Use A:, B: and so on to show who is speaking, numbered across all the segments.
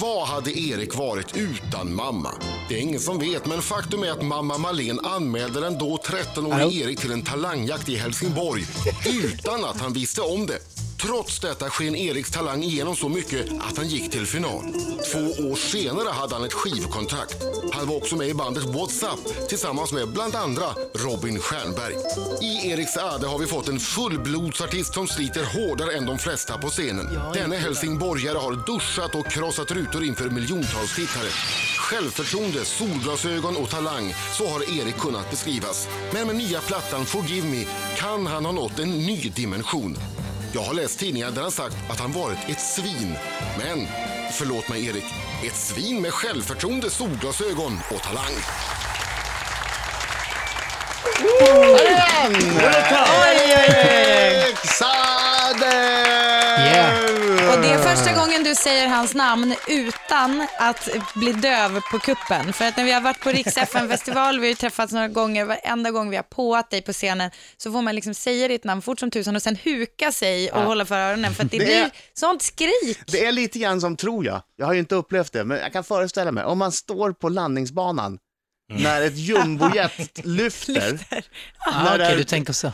A: Vad hade Erik varit utan mamma? Det är ingen som vet, men faktum är att mamma Malén anmälde den då 13-årige Erik till en talangjakt i Helsingborg utan att han visste om det. Trots detta sken Eriks talang igenom så mycket att han gick till final. Två år senare hade han ett skivkontrakt. Han var också med i bandet WhatsApp tillsammans med bland andra Robin Stjernberg. I Eriks äde har vi fått en fullblodsartist som sliter hårdare än de flesta på scenen. Denne helsingborgare har duschat och krossat rutor inför miljontals tittare. Självförtroende, solglasögon och talang, så har Erik kunnat beskrivas. Men med nya plattan Forgive Me kan han ha nått en ny dimension. Jag har läst tidningar där han sagt att han varit ett svin. Men, förlåt mig Erik, ett svin med självförtroende, solglasögon och talang.
B: Erik Saade!
C: Och det är första gången du säger hans namn utan att bli döv på kuppen. För att när vi har varit på Riks FN-festival, vi har ju träffats några gånger, varenda gång vi har påat dig på scenen så får man liksom säga ditt namn fort som tusan och sen huka sig och hålla för öronen för att det,
B: Det är-
C: blir sånt skrik.
B: Det är lite grann som tror jag. Jag har ju inte upplevt det, men jag kan föreställa mig. Om man står på landningsbanan när ett jumbojet lyfter,
D: Mm. Ah,
B: När
D: Okej,
B: det är-
D: du tänker så.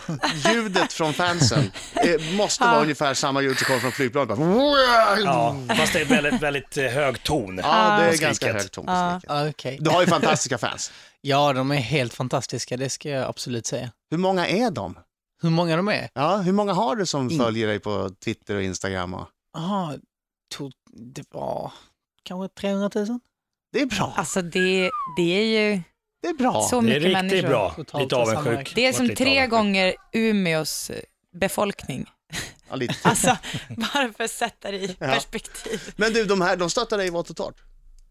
B: ljudet från fansen eh, måste
D: Ah.
B: vara ungefär samma ljud som kommer från flygplanet. Bara,
E: Ja,
C: Mm.
E: fast det är väldigt, väldigt eh, hög ton.
B: Ja, det är
E: Skriket.
B: ganska hög ton på skriket.
D: Ah, Okej.
B: Du har ju fantastiska fans.
D: Ja, de är helt fantastiska, det ska jag absolut säga.
B: Hur många är de?
D: Hur många de är?
B: Ja, hur många har du som följer dig på Twitter och Instagram? Och...
D: Ah, to- det var kanske 300 000?
B: Det är
D: Ah.
B: bra.
C: Alltså det, det är ju
B: Det är bra.
C: så
E: Det är
C: mycket
E: riktigt
C: människor.
E: bra.
D: Totalt
E: lite avundsjuk.
D: tillsammans.
C: Det är
E: Vart
C: som
E: lite
C: tre
E: avundsjuk.
C: gånger Umeås eh, befolkning.
B: Ja, lite.
C: Alltså, bara för att sätta det i perspektiv.
B: Men du, de här, de stöttar dig i vått och torrt.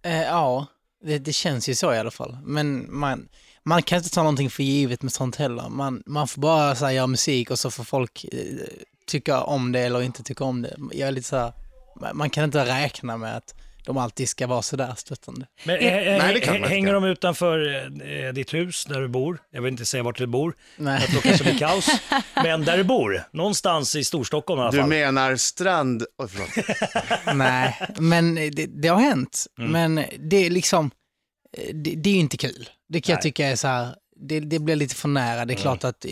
D: Eh, ja, det, det känns ju så i alla fall. Men man, man kan inte ta någonting för givet med sånt heller. Man, man får bara så här, göra musik och så får folk eh, tycka om det eller inte tycka om det. Jag är lite så här, man- man kan inte räkna med att de alltid ska vara sådär stöttande.
E: Men, eh, eh,
B: Nej, det kan man inte.
E: hänger de utanför eh, ditt hus där du bor? Jag vill inte säga vart du bor,
D: Nej.
E: för att då kanske det blir kaos. Men där du bor, någonstans i Storstockholm i alla
B: Du
E: fall.
B: menar strand... Oj, förlåt.
D: Nej, men det, det har hänt.
B: Mm.
D: Men det är liksom, det, det är ju inte kul. Det kan jag
E: Nej.
D: tycka är så här, det, det blir lite för nära.
B: Mm.
D: Det är klart att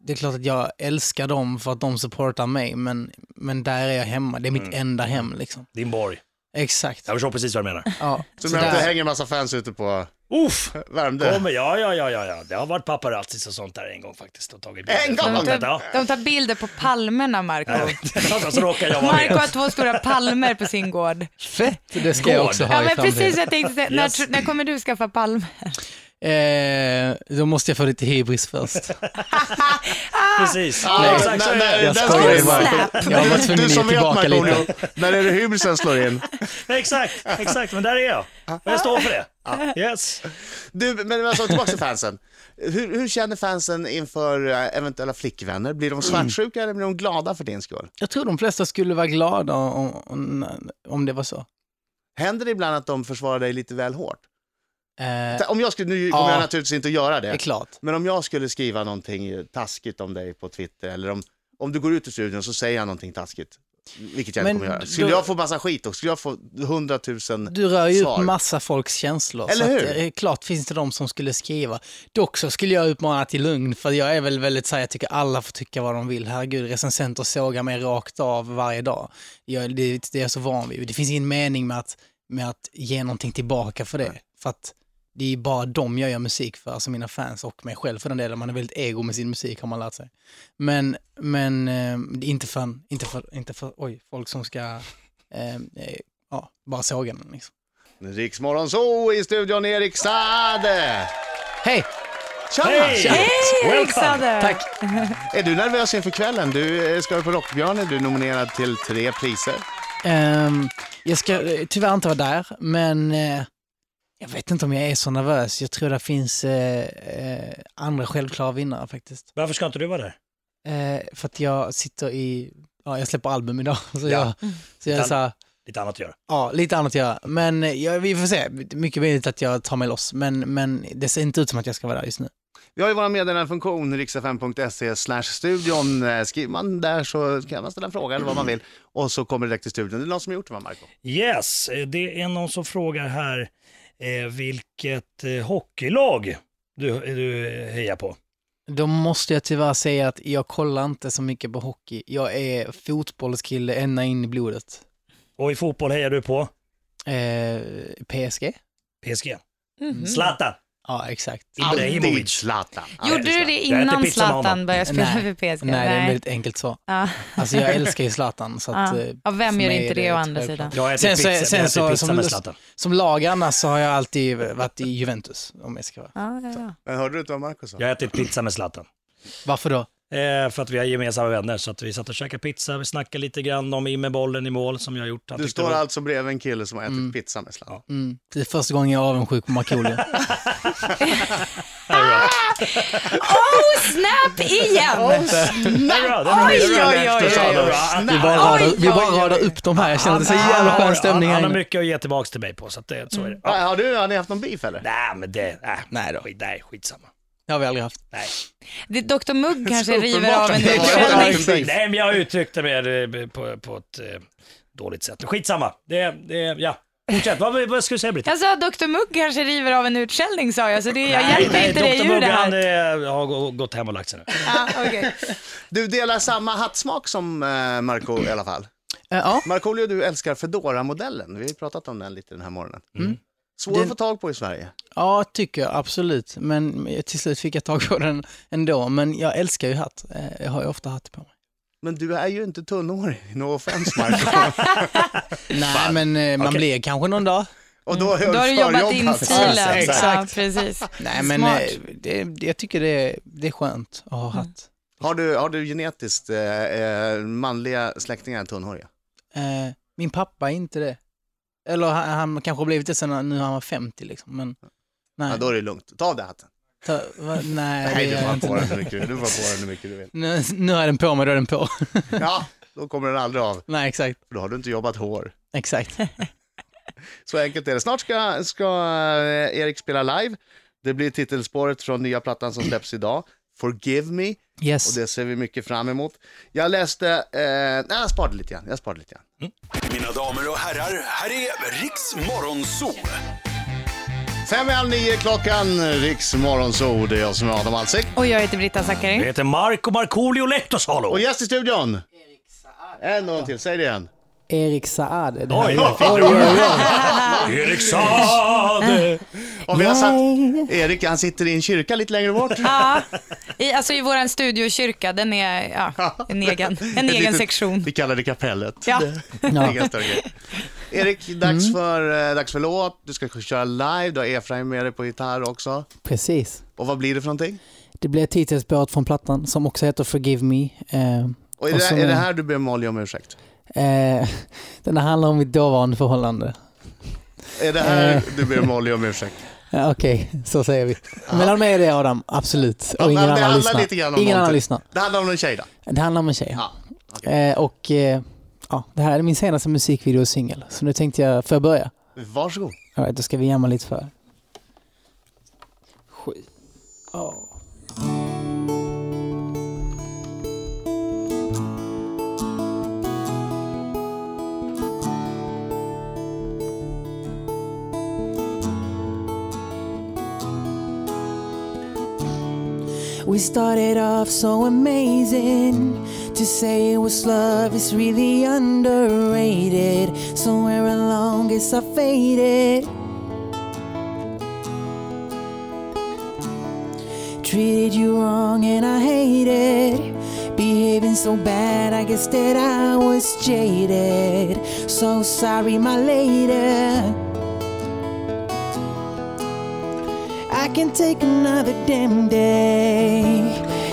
D: det är klart att jag älskar dem för att de supportar mig, men, men där är jag hemma. Det är mitt
B: Mm.
D: enda hem liksom.
E: Din borg.
D: Exakt.
E: Jag förstår precis vad du menar.
D: Ja.
B: Så
D: Så
B: menar du att det
D: där,
B: hänger en massa fans ute på
E: Uff!
B: Värmdö?
E: Kommer, ja, ja, ja, ja, ja. Det har varit paparazzis och sånt där en gång faktiskt. Och tagit
B: En gång?
E: Ja.
C: De tar, de tar bilder på palmerna, Marco.
E: Jag vet inte. Alltså, så råkar jag vara
C: Marco
E: med.
C: har två stora palmer på sin gård.
D: fett, det ska jag
E: Gård.
D: också
C: Ja,
D: ha i
C: men
D: framtiden.
C: precis, jag tänkte säga, när,
E: Yes.
C: tr- när kommer du skaffa palmer?
D: Eh, då måste jag få lite hybris först.
E: Precis.
B: Nej,
E: Exakt så är
B: nej,
E: det.
D: Jag
B: där står
D: skojar
B: det bara.
C: bara.
D: Jag var tvungen
B: Du
D: att ge
B: som vet
D: tillbaka
B: Markoolio,
D: lite.
B: när är det hybrisen slår in?
E: Exakt, exakt. Men där är jag. Och jag står för det. Yes.
B: Du, men alltså tillbaka till fansen. Hur, hur känner fansen inför eh, eventuella flickvänner? Blir de svartsjuka eller blir de glada för din skull?
D: Jag tror de flesta skulle vara glada om, om, om det var så.
B: Händer det ibland att de försvarar dig lite väl hårt?
D: Eh,
B: Ta- Om jag skulle, nu kommer
D: Ja.
B: jag naturligtvis inte att göra
D: det är
B: det,
D: klart.
B: men om jag skulle skriva någonting taskigt om dig på Twitter eller om, om du går ut ur studion så säger jag någonting taskigt, vilket jag
D: Men
B: inte kommer göra. Skulle
D: då-
B: jag få massa skit då? Skulle jag få hundratusen
D: Du rör ju
B: svar?
D: upp massa folks känslor.
B: Eller
D: så
B: hur?
D: Att, eh, klart finns det de som skulle skriva. Dock så skulle jag uppmana till lugn, för jag är väl väldigt så här, jag tycker alla får tycka vad de vill. Herregud, recensenter sågar mig rakt av varje dag. Jag, det, det är jag så van vid. Det finns ingen mening med att, med att ge någonting tillbaka för det. För att det är ju bara dem jag gör musik för, alltså mina fans och mig själv för den delen. Man är väldigt ego med sin musik har man lärt sig. Men, men eh, det är inte för, inte för, inte för oj, folk som ska eh, eh, ja, bara såga den. Liksom.
B: Riksmorgon så i studion Erik Saade!
D: Hej!
B: Tjena!
E: Hej!
B: Tjena!
C: Erik
E: Welcome!
C: Saade!
D: Tack!
B: Är du nervös inför kvällen? Du eh, ska vara på Rockbjörnen, du är nominerad till tre priser.
D: Ehm, jag ska eh, tyvärr inte vara där, men eh, jag vet inte om jag är så nervös. Jag tror det finns eh, eh, andra självklara vinnare faktiskt.
E: Varför ska inte du vara där?
D: Eh, för att jag sitter i, ja jag släpper album idag, så
E: Ja.
D: jag, så jag är
E: Utan-
D: så här,
E: Lite annat att göra.
D: ja lite annat att göra. Men eh, jag, vi får se, mycket möjligt att jag tar mig loss, men, men det ser inte ut som att jag ska vara där just nu.
B: Vi har ju vår meddelandefunktion, riksfm.se slash studion. Eh, Skriver man där så kan man ställa en fråga eller vad man vill och så kommer det direkt till studion. Det är någon som har gjort det va, Marco?
E: Yes, eh, det är någon som frågar här eh, vilket eh, hockeylag du, du eh, hejar på.
D: Då måste jag tyvärr säga att jag kollar inte så mycket på hockey. Jag är fotbollskille ända in i blodet.
E: Och i fotboll hejar du på
D: Eh, PSG?
E: PSG. Mm-hmm. Zlatan.
D: Ja, exakt.
B: Alltid
E: Ibrahimovic.
B: Zlatan.
C: Gjorde du
E: Jag
C: det
E: äter
C: innan
E: pizza med honom.
C: Zlatan började spela
D: Nej.
C: för PSG?
D: Nej, det är väldigt enkelt så.
C: Ja.
D: Alltså jag älskar ju Zlatan, så att...
C: Ja.
D: eh,
C: Ja, vem
D: för
C: gör
D: mig
C: inte
D: är
C: det å
D: ett
C: andra sidan?
D: självklart.
E: Jag har
D: Sen
E: ätit
D: så-
E: pizza,
D: sen
E: jag äter
D: så-
E: pizza
D: som-
E: med Zlatan.
D: Som lag annars så har jag alltid varit i Juventus, om jag ska vara.
C: Ja, ja, ja.
B: Men hörde du inte vad Marco sa?
E: Jag har ätit pizza med Zlatan.
D: Varför då?
E: Eh, för att vi har gemensamma vänner, så att vi satt och käkade pizza, vi snackade lite grann om in med bollen i mål som jag har gjort. Han
B: Du
E: tyckte
B: står
E: det var-
B: alltså bredvid en kille som har ätit pizza med Zlatan.
D: Mm. Det är första gången jag är avundsjuk på Markoolio.
C: Ah! Oh, snap igen!
E: Oh, Det är bra, det är bra.
C: Oj, oj, oj, oj,
E: Det är bra.
C: oj.
D: Vi bara radar, vi
C: Oj,
D: bara
C: oj, oj.
D: radar upp de här, jag känner att det är så
E: Han-
D: jävla
E: han har-
D: skön stämning
E: Han
D: här
E: har
D: inne.
E: mycket att ge tillbaka till mig på, så att det, så är det. Ja.
B: Ja. Har, du, har ni haft någon beef eller?
E: Nej, men det, nej,
D: Nej då.
E: Skit, nej, skitsamma.
D: Det har vi aldrig haft.
E: Nej.
C: Det, Dr Mugg kanske
B: Så
C: river
B: uppenbart
C: av en
B: att det var-
C: utskällning.
B: Ja, exakt.
E: Nej, men jag uttryckte mig eh, på, på ett eh, dåligt sätt. Skitsamma. Det, det, ja. Fortsätt. Vad, vad ska du säga Britta?
C: Jag sa att Dr Mugg kanske river av en utskällning sa jag, så det, jag
E: Nej,
C: hjälper
E: nej,
C: inte dig
E: Dr.
C: ur det
E: Mugg, Han
C: här.
E: eh, har gå- gått hem och lagt sig nu.
C: Ja, okej.
B: Du delar samma hattsmak som eh, Marco i alla fall.
D: Eh, Ja,
B: Markoolio, du älskar Fedora-modellen. Vi har ju pratat om den lite den här morgonen.
C: Mm.
B: Svår att
D: Den-
B: få tag på i Sverige.
D: ja, tycker jag absolut. Men till slut fick jag tag på den ändå. Men jag älskar ju hatt. Eh, Jag har ju ofta hatt på mig.
B: Men du är ju inte tunnhårig, no offense Marco.
D: Nej, men eh, man blir kanske någon dag.
B: Och då,
C: Då har du jobbat in
B: förjobbat.
C: stilen.
E: Ja,
C: Ja,
D: exakt.
C: precis.
D: Nej, men
C: Smart.
D: eh, det, det- jag tycker det, det är skönt att ha hatt.
B: Har du, har du genetiskt eh, eh, manliga släktingar tunnhåriga?
D: Eh, Min pappa är inte det. Eller han, han kanske har blivit det sen han- nu han var 50 liksom. Men, nej,
B: Ja, då är det lugnt. Ta av dig hatten.
D: ta, va, nej,
B: Nej,
D: det
B: du
D: gör
B: får
D: jag
B: ha
D: inte.
B: på den hur mycket du- du får ha på den hur mycket du vill.
D: Nu, nu har jag den på mig, då är den på.
B: Ja, då kommer den aldrig av.
D: nej, exakt.
B: För då har du inte jobbat hår.
D: Exakt.
B: Så enkelt är det. Snart ska, ska eh, Erik spela live. Det blir titelspåret från nya plattan som släpps idag. Forgive me.
D: Yes.
B: Och det ser vi mycket fram emot. Jag läste, eh, nej, jag sparade lite grann. Jag sparade lite grann.
F: Mina damer och herrar, här är Riks Morgonzoo.
B: Fem i halv nio klockan, Riks morgonzoo. Det är jag som är Adam Alsik.
C: Och jag heter Britta
E: Jag
C: Zackari.
E: heter Marco Markoolio Lehtosalo.
B: Och gäst i studion. En gång till, säg det igen.
D: Erik Saad. Det
E: Oj, vad fint. Erik Saade.
B: Och vi har satt, Erik han sitter i en kyrka lite längre bort.
C: Ja, i, alltså i vår studiokyrka, den är ja, en egen, en
B: Ett
C: egen
B: litet-
C: sektion.
B: Vi kallar det kapellet.
C: Ja.
B: Det är inga större grejer. Erik, dags, för, eh, dags för låt. Du ska köra live. Du har Efraim med dig på gitarr också.
D: Precis.
B: Och vad blir det för någonting?
D: Det blev titelspåret från plattan som också heter Forgive Me. Eh,
B: Och är,
D: Och
B: det,
D: sen
B: är det
D: är-
B: här du ber Molly om ursäkt?
D: eh, den handlar om mitt dåvarande förhållande.
B: Är det här du ber Molly om ursäkt?
D: Ja, Okej, så säger vi. Men håll med dig Adam, absolut.
B: Ja,
D: Och ingen
B: men det
D: annan
B: handlar
D: lyssnar.
B: lite grann om
D: Ingen annan
B: någonting.
D: lyssnar.
B: Det handlar om en tjej då?
D: Det handlar om en tjej.
B: Ja.
D: Eh, och eh, ja, det här är min senaste musikvideo och singel. Så nu tänkte jag, får jag börja?
B: Varsågod.
D: All right, då ska vi jamma lite för. Sju. Ja. We started off so amazing. To say it was love is really underrated. Somewhere along it's I faded. Treated you wrong and I hated. Behaving so bad, I guess that I was jaded. So sorry, my lady. I can take another damn day.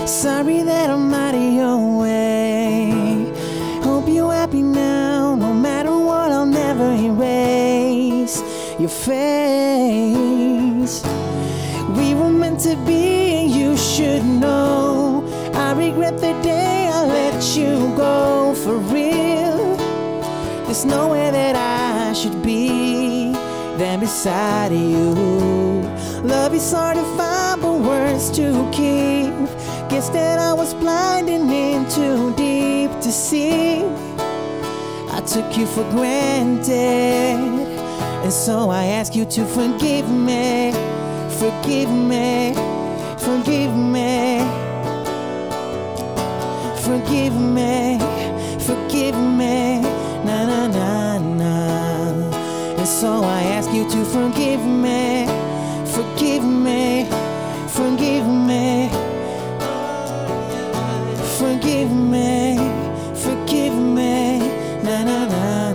D: Sorry that I'm out of your way. Hope you're happy now. No matter what, I'll never erase your face. We were meant to be, and you should know. I regret the day I let you go for real. There's nowhere that I should be than beside you. Love is hard to find, but words to keep. Guess that I was blind and in too deep to see. I took you for granted, and so I ask you to forgive me, forgive me, forgive me, forgive me, forgive me, na na na na. And so I ask you to forgive me, forgive me, forgive me, forgive me, forgive me, na na na na.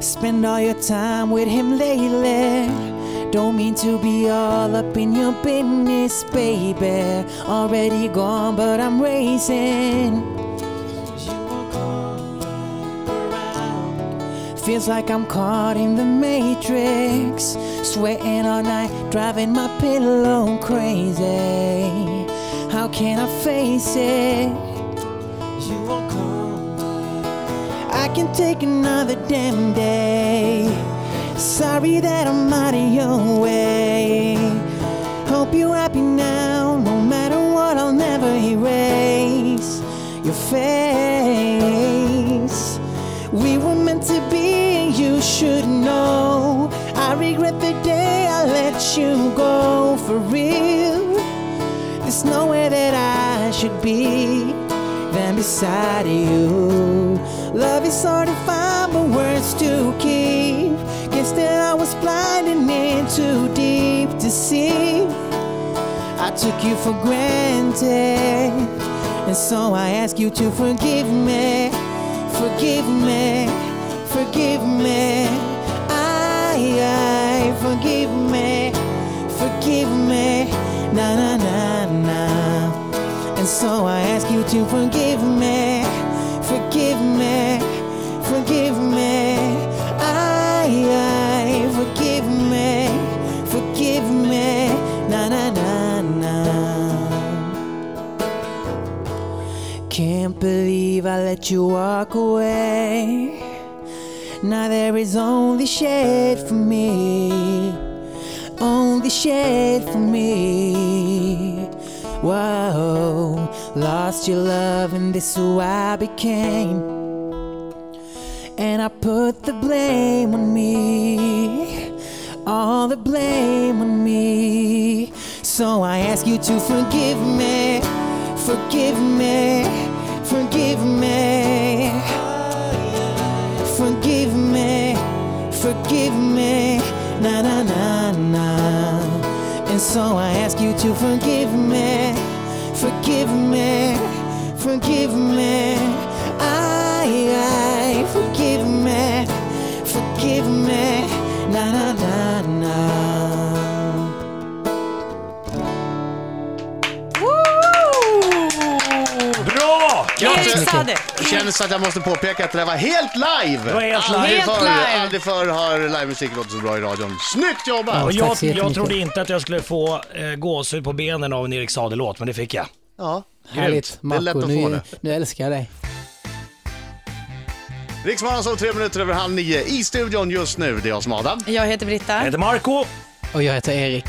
D: Spend all your time with him lately. Don't mean to be all up in your business, baby. Already gone, but I'm racing. Feels like I'm caught in the matrix. Sweating all night, driving my pillow crazy. How can I face it? You won't come. I can take another damn day. Sorry that I'm out of your way. Hope you're happy now. No matter what, I'll never erase your face. We were meant to be, you should know. I regret the day I let you go for real. There's nowhere that I should be than beside you. Love is hard to find, but words to keep. Guess that I was blind and in too deep to see. I took you for granted, and so I ask you to forgive me, forgive me, forgive me. I, I forgive me, forgive me, na na na na. And so I ask you to forgive me, forgive me, forgive me. I, I forgive me, forgive me, na na na na. Can't believe I let you walk away. Now there is only shade for me. Only shade for me. Whoa, lost your love, and this who I became. And I put the blame on me. All the blame on me. So I ask you to forgive me. Forgive me. Forgive me. Forgive me. Forgive me. Na na na na. And so I ask you to forgive me. Forgive me. Forgive me. I, I forgive me. Forgive me. Na na na na.
E: Bra!
C: Erik Saade.
B: Det känns att jag måste påpeka att det där var helt live!
E: var helt live.
B: Aldrig,
C: Helt
B: förr,
C: live.
B: aldrig förr har livemusik låtit så bra i radion. Snyggt
E: Och
B: jobbat! Ja,
E: jag,
G: så
E: jag
G: jättemycket.
E: trodde inte att jag skulle få eh, gåshud på benen av en Erik Saade-låt, men det fick jag.
G: Härligt.
B: Det är lätt
G: Marco,
B: att få
G: nu,
B: det.
G: nu älskar jag dig.
B: Riksmorgon så tre minuter över halv nio i studion just nu. Det är jag som är Adam.
C: Jag heter Britta.
E: Jag heter Marco.
G: Och jag heter Erik.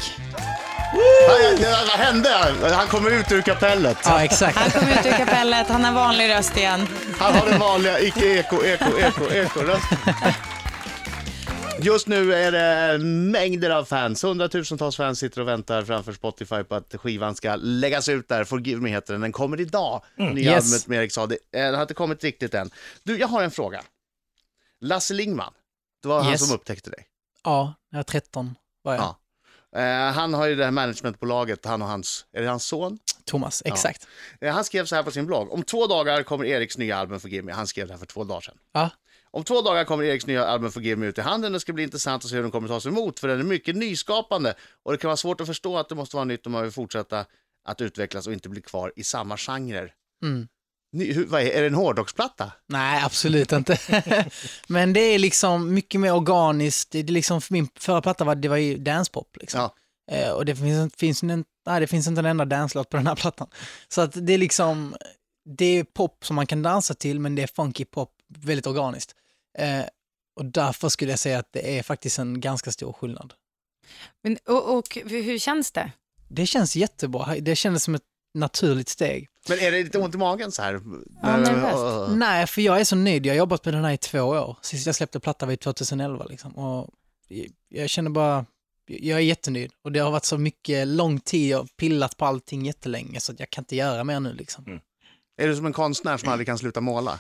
B: Aj, aj, aj, Vad hände? Han kommer ut ur kapellet.
G: Ja, exakt.
C: Han kom ut ur kapellet, han har vanlig röst igen.
B: Han har den vanliga icke-eko-eko-eko-eko-rösten. Just nu är det mängder av fans. Hundratusentals fans sitter och väntar framför Spotify på att skivan ska läggas ut där. Forgive Me heter den. Den kommer idag. Nya
G: Mm. Yes.
B: albumet med Erik Saade. Eh, Den har inte kommit riktigt än. Du, jag har en fråga. Lasse Lingman, det var han
G: Yes.
B: som upptäckte dig.
G: Ja, jag är 13 var jag.
B: Ja. Eh, han har ju det här managementbolaget, han och hans, är det hans son?
G: Thomas, exakt.
B: Eh, han skrev så här på sin blogg. Om två dagar kommer Eriks nya album Forgive Me. Han skrev det här för två dagar sedan.
G: Ja.
B: Om två dagar kommer Eriks nya album Forgive Me ut i handen. Det ska bli intressant att se hur den kommer tas emot, för den är mycket nyskapande och det kan vara svårt att förstå att det måste vara nytt om man vill fortsätta att utvecklas och inte bli kvar i samma genrer.
G: Mm.
B: Ny, hur, vad är, är det en hårdrocksplatta?
G: Nej, absolut inte. Men det är liksom mycket mer organiskt. Det är liksom, min förra platta var, det var ju dancepop. Liksom.
B: Ja.
G: Eh, och det finns, finns, en, nej, det finns inte en enda danslåt på den här plattan. Så att det är liksom, det är pop som man kan dansa till, men det är funky pop, väldigt organiskt. Eh, och därför skulle jag säga att det är faktiskt en ganska stor skillnad.
C: Men, och, och hur känns det?
G: Det känns jättebra. Det kändes som ett naturligt steg.
B: Men är det lite ont i magen så här? Eh,
C: Ja, nervöst.
G: Nej, för jag är så nöjd. Jag har jobbat med den här i två år. Sist jag släppte platta var i 2011 liksom. Och jag- jag känner bara, jag är jättenöjd. Och det har varit så mycket lång tid, jag har pillat på allting jättelänge så att jag kan inte göra mer nu liksom.
B: Mm. Är du som en konstnär som aldrig kan sluta måla?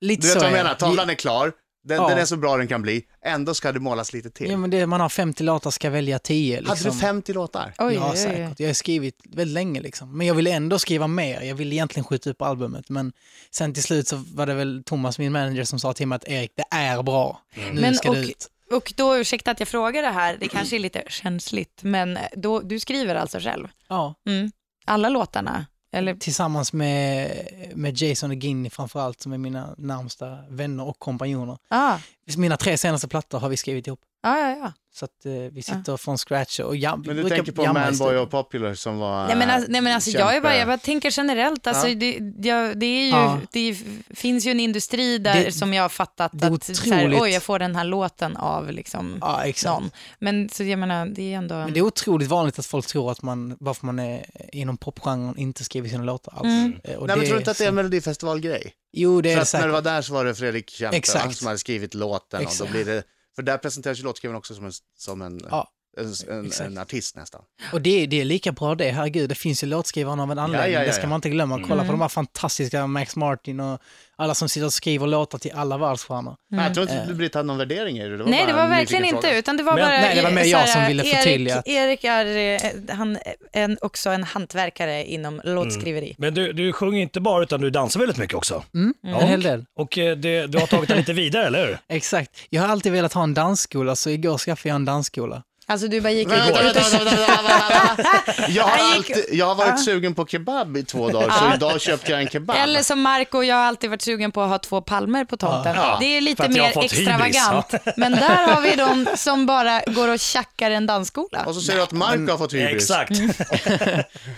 G: Lite
B: Du vet
G: så
B: vad jag
G: är
B: menar, tavlan är klar, den,
G: Ja.
B: den är så bra den kan bli, ändå ska det målas lite till.
G: Ja, men det, man har 50 låtar, ska välja 10 liksom.
B: Hade du 50 låtar?
C: Oj,
G: ja,
C: oj, oj, oj.
G: säkert. Jag har skrivit väldigt länge liksom. Men jag ville ändå skriva mer. Jag ville egentligen skjuta upp albumet. Men sen till slut så var det väl Thomas, min manager, som sa till mig att Erik, det är bra. Nu
C: Men
G: ska
C: och,
G: det ut.
C: och då, ursäkta att jag frågar det här, det kanske är lite känsligt, men då, du skriver alltså själv?
G: Ja,
C: Mm. Alla låtarna? Eller,
G: tillsammans med, med Jason och Ginny framförallt, som är mina närmsta vänner och kompanjoner.
C: ah,
G: Mina tre senaste plattor har vi skrivit ihop.
C: ah, ja, ja.
G: Så att eh, vi sitter från scratch och jam,
B: Men du tänker på Manboy och Popular som var...
C: Nej men,
G: Ah,
C: alltså, nej, men alltså, jag, är bara, jag bara tänker generellt, alltså,
B: Ja.
C: det, jag, det, är ju,
G: Ja.
C: det f- finns ju en industri där
G: Det-
C: som jag har fattat
G: det är
C: att så här,
G: otroligt.
C: oj, jag får den här låten av liksom,
G: Ja, exakt.
C: någon. Men så jag menar, det är ändå...
G: Men det är otroligt vanligt att folk tror att man, varför man är inom popgenren, inte skriver sina låtar alls.
C: Mm.
G: Eh, och
B: Nej, men tror du inte att det är en
G: så-
B: melodifestivalgrej?
G: Jo, det är
B: För
G: det
B: att när du
G: säkert.
B: var där så var det Fredrik Kempe
G: Exakt.
B: va, som hade skrivit låten. Och
G: Exakt.
B: då blir det, för där presenteras ju låtskrivaren också som en, som en,
G: Ja,
B: en, en,
G: exakt.
B: en artist
C: Mm.
B: nästan.
G: Och det, det är lika bra det, herregud, det finns ju låtskrivaren av en anledning,
B: ja, ja,
G: det ska
B: ja.
G: man inte glömma. Kolla på de här fantastiska Max Martin och alla som sitter och skriver låtar till alla världsstjärnor.
B: Men jag tror
G: Eh.
B: inte att Britt hade någon värdering i det. det var
C: Nej,
B: bara
C: det var
B: en
C: verkligen
B: nyfiken
C: inte,
B: fråga.
C: utan det var
E: Men-
C: bara...
G: Nej, det var mer
C: eh,
G: jag
C: så
G: som
C: här,
G: ville
C: Erik-
G: förtydliga att-
C: Erik är eh, han, är en, också en hantverkare inom låtskriveri.
E: Men du, du sjunger inte bara utan du dansar väldigt mycket också.
G: Mm, En hel del.
E: Och eh, det, du har tagit det lite vidare, eller hur?
G: Exakt. Jag har alltid velat ha en dansskola, så igår skaffade jag en dansskola.
C: Alltså du bara gick ut
B: Vänta, vänta, vänta, vänta, vänta, vänta. Jag har,
C: Han gick-
B: alltid, jag har varit sugen på kebab i två dagar, så idag köpte jag en kebab.
C: Eller som Marco och jag har alltid varit sugen på att ha två palmer på tomten.
E: Ja,
C: det är
E: för
C: lite
E: att jag har
C: mer
E: fått hybris,
C: extravagant. Men där har vi de som bara går och tjackar en dansskola.
B: Och så säger du att Marco har fått hybris.
E: Exakt.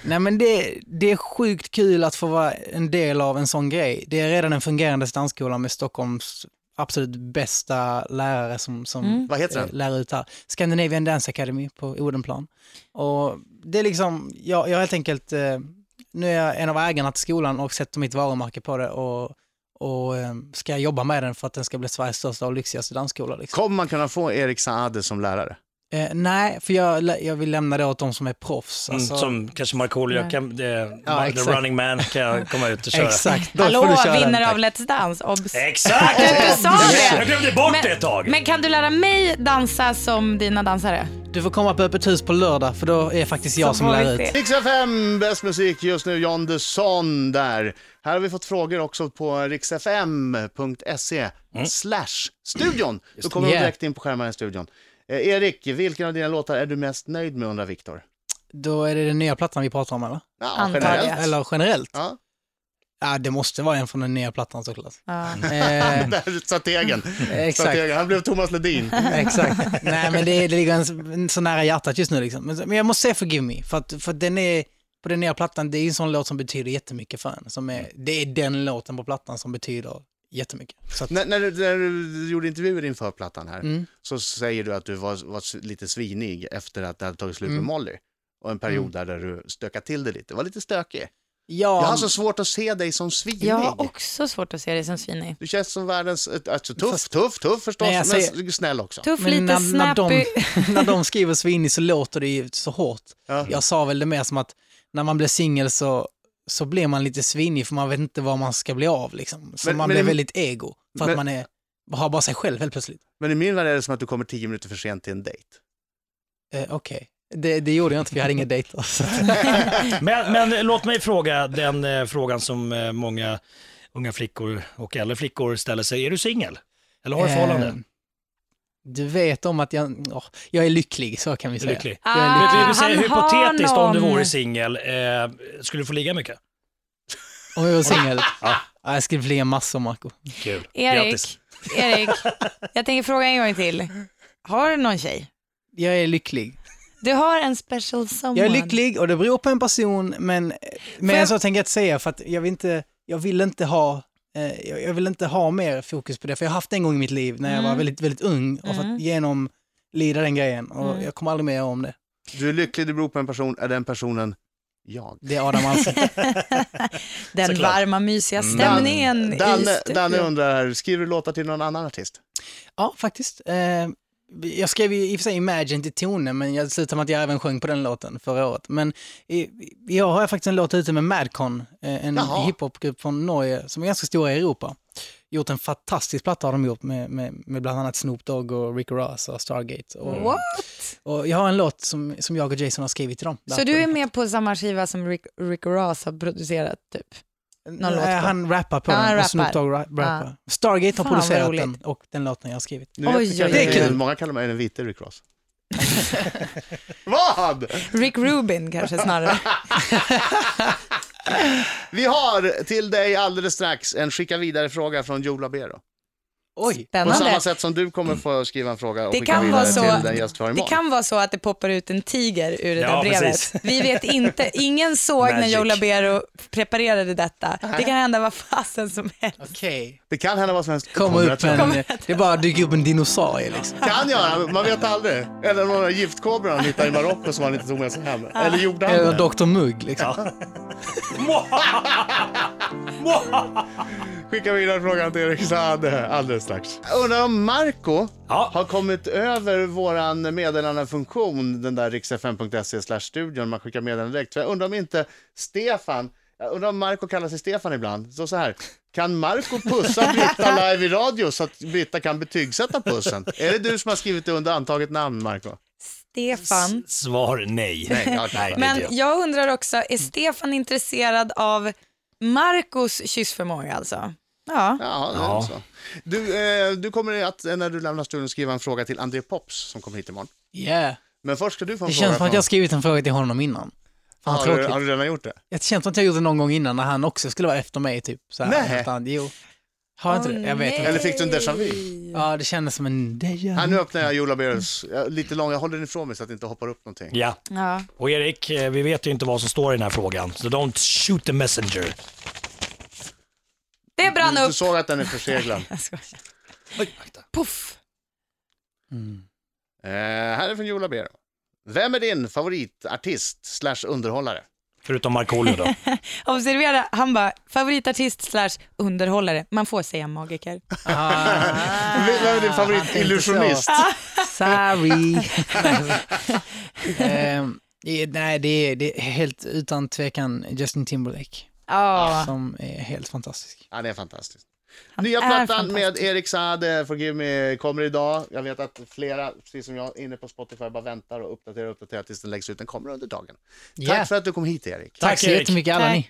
G: Nej men det, det är sjukt kul att få vara en del av en sån grej. Det är redan en fungerande dansskola med Stockholms absolut bästa lärare som, som
B: Vad heter den?
G: eh, lär ut här. Scandinavian Dance Academy på Odenplan. Och det är liksom, jag, jag har helt enkelt, eh, nu är jag en av ägarna till skolan och sätter mitt varumärke på det och, och eh, ska jobba med den för att den ska bli Sveriges största och lyxigaste dansskola. Liksom.
B: Kommer man kunna få Erik Saade som lärare?
G: Eh, nej, för jag, lä- jag vill lämna det åt de som är proffs.
E: Mm,
G: Alltså,
E: Som kanske Markoolio, kan, eh, The
G: exakt.
E: running man, kan komma ut och köra.
G: Exakt, då får
C: Hallå,
G: du köra den,
C: vinnare
G: tack.
C: av Let's Dance, obs.
E: Exakt!
C: Du sa det!
E: Jag glömde bort det ett tag.
C: Men, men kan du lära mig dansa som dina dansare?
G: Du får komma på öppet hus på lördag för då är faktiskt jag
C: Så
G: som
C: får vi
G: lär
C: se.
G: ut.
B: Rix FM, bäst musik just nu, John Dusson där. Här har vi fått frågor också på riksfm.se slash studion. Då kommer de
G: Mm. Yeah.
B: direkt in på skärmarna i studion. Eh, Erik, vilken av dina låtar är du mest nöjd med undrar Viktor?
G: Då är det den nya plattan vi pratar om eller?
B: Ja,
C: Antar
B: generellt.
C: jag.
G: Eller generellt?
B: Ja.
G: Ja, det måste vara en från den nya plattan såklart.
C: Ja.
G: Eh,
B: Där, Strategen.
G: exakt,
B: Strategen. Han blev Thomas Ledin.
G: exakt. Nej men det, det ligger en, så- en så nära hjärtat just nu liksom. Men, men jag måste säga Forgive Me, för att, för att den är, på den nya plattan, det är ju en sån låt som betyder jättemycket för en. Som
B: Mm.
G: är, det är den låten på plattan som betyder jättemycket. Så att,
B: När, när, du, när du gjorde intervjuer inför plattan här
G: Mm.
B: så säger du att du var, var s- lite svinig efter att det hade tagit slut med
G: Mm.
B: Molly. Och en period där, där du stökade till det lite. Det var lite stökig. Jag
G: ja,
B: har så svårt att se dig som svinig.
C: Jag har också svårt att se dig som svinig.
B: Du känns som världens... äh, Alltså, tuff,
G: Fast-
B: tuff, tuff förstås,
G: Nej, jag
B: men
G: säger-
B: snäll också.
C: Tuff,
G: Men
C: lite
G: när, när, de,
C: snappy.
G: när de skriver svinig så låter det ju så hårt.
B: Ja.
G: Jag sa väl det mer som att när man blir singel så, så blir man lite svinig för man vet inte vad man ska bli av. Liksom. Så
B: Men-
G: man
B: men-
G: blir väldigt ego för
B: men-
G: att man är, har bara sig själv helt plötsligt.
B: Men i min värld är det som att du kommer tio minuter för sent till en dejt.
G: Eh, Okej, det, det gjorde jag inte för jag hade inga dejter. Så.
E: Men, men låt mig fråga den eh, frågan som eh, många unga flickor och äldre flickor ställer sig. Är du singel? Eller har du förhållande?
G: Eh, Du vet om att jag, åh, jag är lycklig, så kan vi säga.
E: Lycklig.
G: Jag är
C: Ah.
G: lycklig.
E: Vi, vi säger
C: han har
E: hypotetiskt om du
C: någon.
E: vore singel, eh, skulle du få ligga mycket?
G: Om jag var singel,
E: Ja.
G: ja, jag skulle bli en massa Marco.
E: Kul.
C: Erik, Erik, jag tänker fråga en gång till. Har du någon tjej?
G: Jag är lycklig.
C: Du har en special someone.
G: Jag är lycklig och det beror på en person, men, men
C: jag-
G: så tänker jag inte säga för att jag vill inte, jag vill inte ha eh, jag jag vill inte ha mer fokus på det, för jag har haft det en gång i mitt liv när jag var väldigt, väldigt ung. Och för att genom lida den grejen och jag kommer aldrig mer om det.
B: Du är lycklig, du beror på en person. Är den personen jag?
G: Det är Adam Alsing.
C: Den
E: Såklart.
C: varma, mysiga stämningen i
B: Danne,
C: studion.
B: Danne undrar, här, skriver du låtar till någon annan artist?
G: ja, faktiskt. Eh, jag skrev ju i och för sig Imagine till tonen, men jag slutade med att jag även sjöng på den låten förra året. Men i, jag har jag faktiskt en låt ute med Madcon, eh, en
B: Jaha.
G: hiphopgrupp från Norge som är ganska stora i Europa. Gjort en fantastisk platta har de gjort med, med, med bland annat Snoop Dogg och Rick Ross och Stargate. Och,
C: What?
G: och jag har en låt som, som jag och Jason har skrivit till dem.
C: Så du är med på samma skiva som Rick, Rick Ross har producerat typ? någon låt på?
G: Nej, Eh, Han rappar på
C: Ja,
G: den
C: han
G: och Snoop
C: rappar.
G: Dogg ra- rappar. Stargate har
C: Fan, vad
G: producerat
C: roligt.
G: den och den låten jag har skrivit.
B: Du
C: Oj,
B: det
C: oj,
B: kanske-
G: oj. Det är kul.
B: Många kallar mig den vite Rick Ross. Vad?
C: Rick Rubin kanske snarare.
B: Vi har till dig alldeles strax en skicka vidare-fråga från Joe Labero.
G: Oj!
B: På samma
C: Spännande.
B: sätt som du kommer få skriva en fråga och
C: Det
B: skicka
C: kan
B: vidare
C: vara så-
B: till den gäst vi har
C: Det
B: imorgon.
C: kan vara så att det poppar ut en tiger ur det
E: Ja,
C: där brevet.
E: precis.
C: Vi vet inte, ingen såg när
E: Magic.
C: Joe Labero preparerade detta. Det kan hända vad fasen som helst.
G: Okej.
B: Det kan hända vad som helst.
G: Komma
B: Kommer
G: upp
B: att
G: en,
B: hända.
G: det bara dyker upp en dinosaurie liksom.
B: Kan göra, man vet aldrig. Eller några giftkobror han hittade i Marocko som han inte tog med sig hem. Eller gjorde han det?
G: Eller Dr Mugg liksom.
B: Skicka vidare frågan till Erik Saade alldeles strax. Jag Undrar om Marco
E: Ja.
B: har kommit över våran meddelandefunktion, den där riksfm.se slash studion, man skickar meddelanden direkt. För jag undrar om inte Stefan, jag undrar om Marco kallar sig Stefan ibland. Så så här, kan Marco pussa Britta live i radio så att Britta kan betygsätta pussen? Är det du som har skrivit det under antaget namn, Marco?
C: Stefan.
E: Svar nej. Nej,
B: ja,
E: det är
C: Men
E: det.
C: jag undrar också, är Stefan intresserad av Marcos kyssförmåga alltså? Ja.
B: Ja, det
E: Ja.
B: är så. Du, eh, du kommer att, eh, när du lämnar studion, skriva en fråga till André Pops som kommer hit imorgon.
G: Yeah.
B: Men först ska du få en
G: Det
B: fråga.
G: känns som att
B: från-
G: jag har skrivit en fråga till honom innan. Fan vad
B: har, du,
G: tråkigt.
B: har du redan gjort det?
G: Det känns som att jag gjorde det någon gång innan när han också skulle vara efter mig typ. Så här,
B: Nej.
G: Efter han- Jo. Har jag inte det? Jag vet
C: Åh,
G: inte.
B: Eller fick du en déjà vu?
G: Ja, det kändes som en déjà
B: Ja,
G: vu.
B: nu öppnar jag Jola Berus. Lite lång, jag håller den ifrån mig så att det inte hoppar upp någonting.
E: Ja,
C: Ja.
E: och Erik, eh, vi vet ju inte vad som står i den här frågan, så don't shoot the messenger.
C: Det brann
B: Du
C: upp.
B: såg att den är förseglad.
C: Jag skojar. Puff.
B: eh, här är från Jola Berus. Vem är din favoritartist slash underhållare?
E: Förutom Markoolio då.
C: Observera, han bara favoritartist slash underhållare. Man får säga magiker.
G: Ah,
B: Vem är din
G: inte
B: favoritillusionist?
G: så. Sorry. Ehm, eh, nej, det är, det är helt utan tvekan Justin Timberlake
C: Ja,
G: som är helt fantastisk.
B: Ja, det är fantastiskt. Nya
C: är
B: plattan
C: fantastisk.
B: med Erik Saade, Forgive Me, kommer idag. Jag vet att flera, precis som jag, inne på Spotify bara väntar och uppdaterar och uppdaterar tills den läggs ut. Den kommer under dagen.
G: Yeah.
B: Tack för att du kom hit, Erik.
G: Tack,
E: Tack,
G: så
E: Erik.
G: jättemycket alla
C: Tack.
G: ni.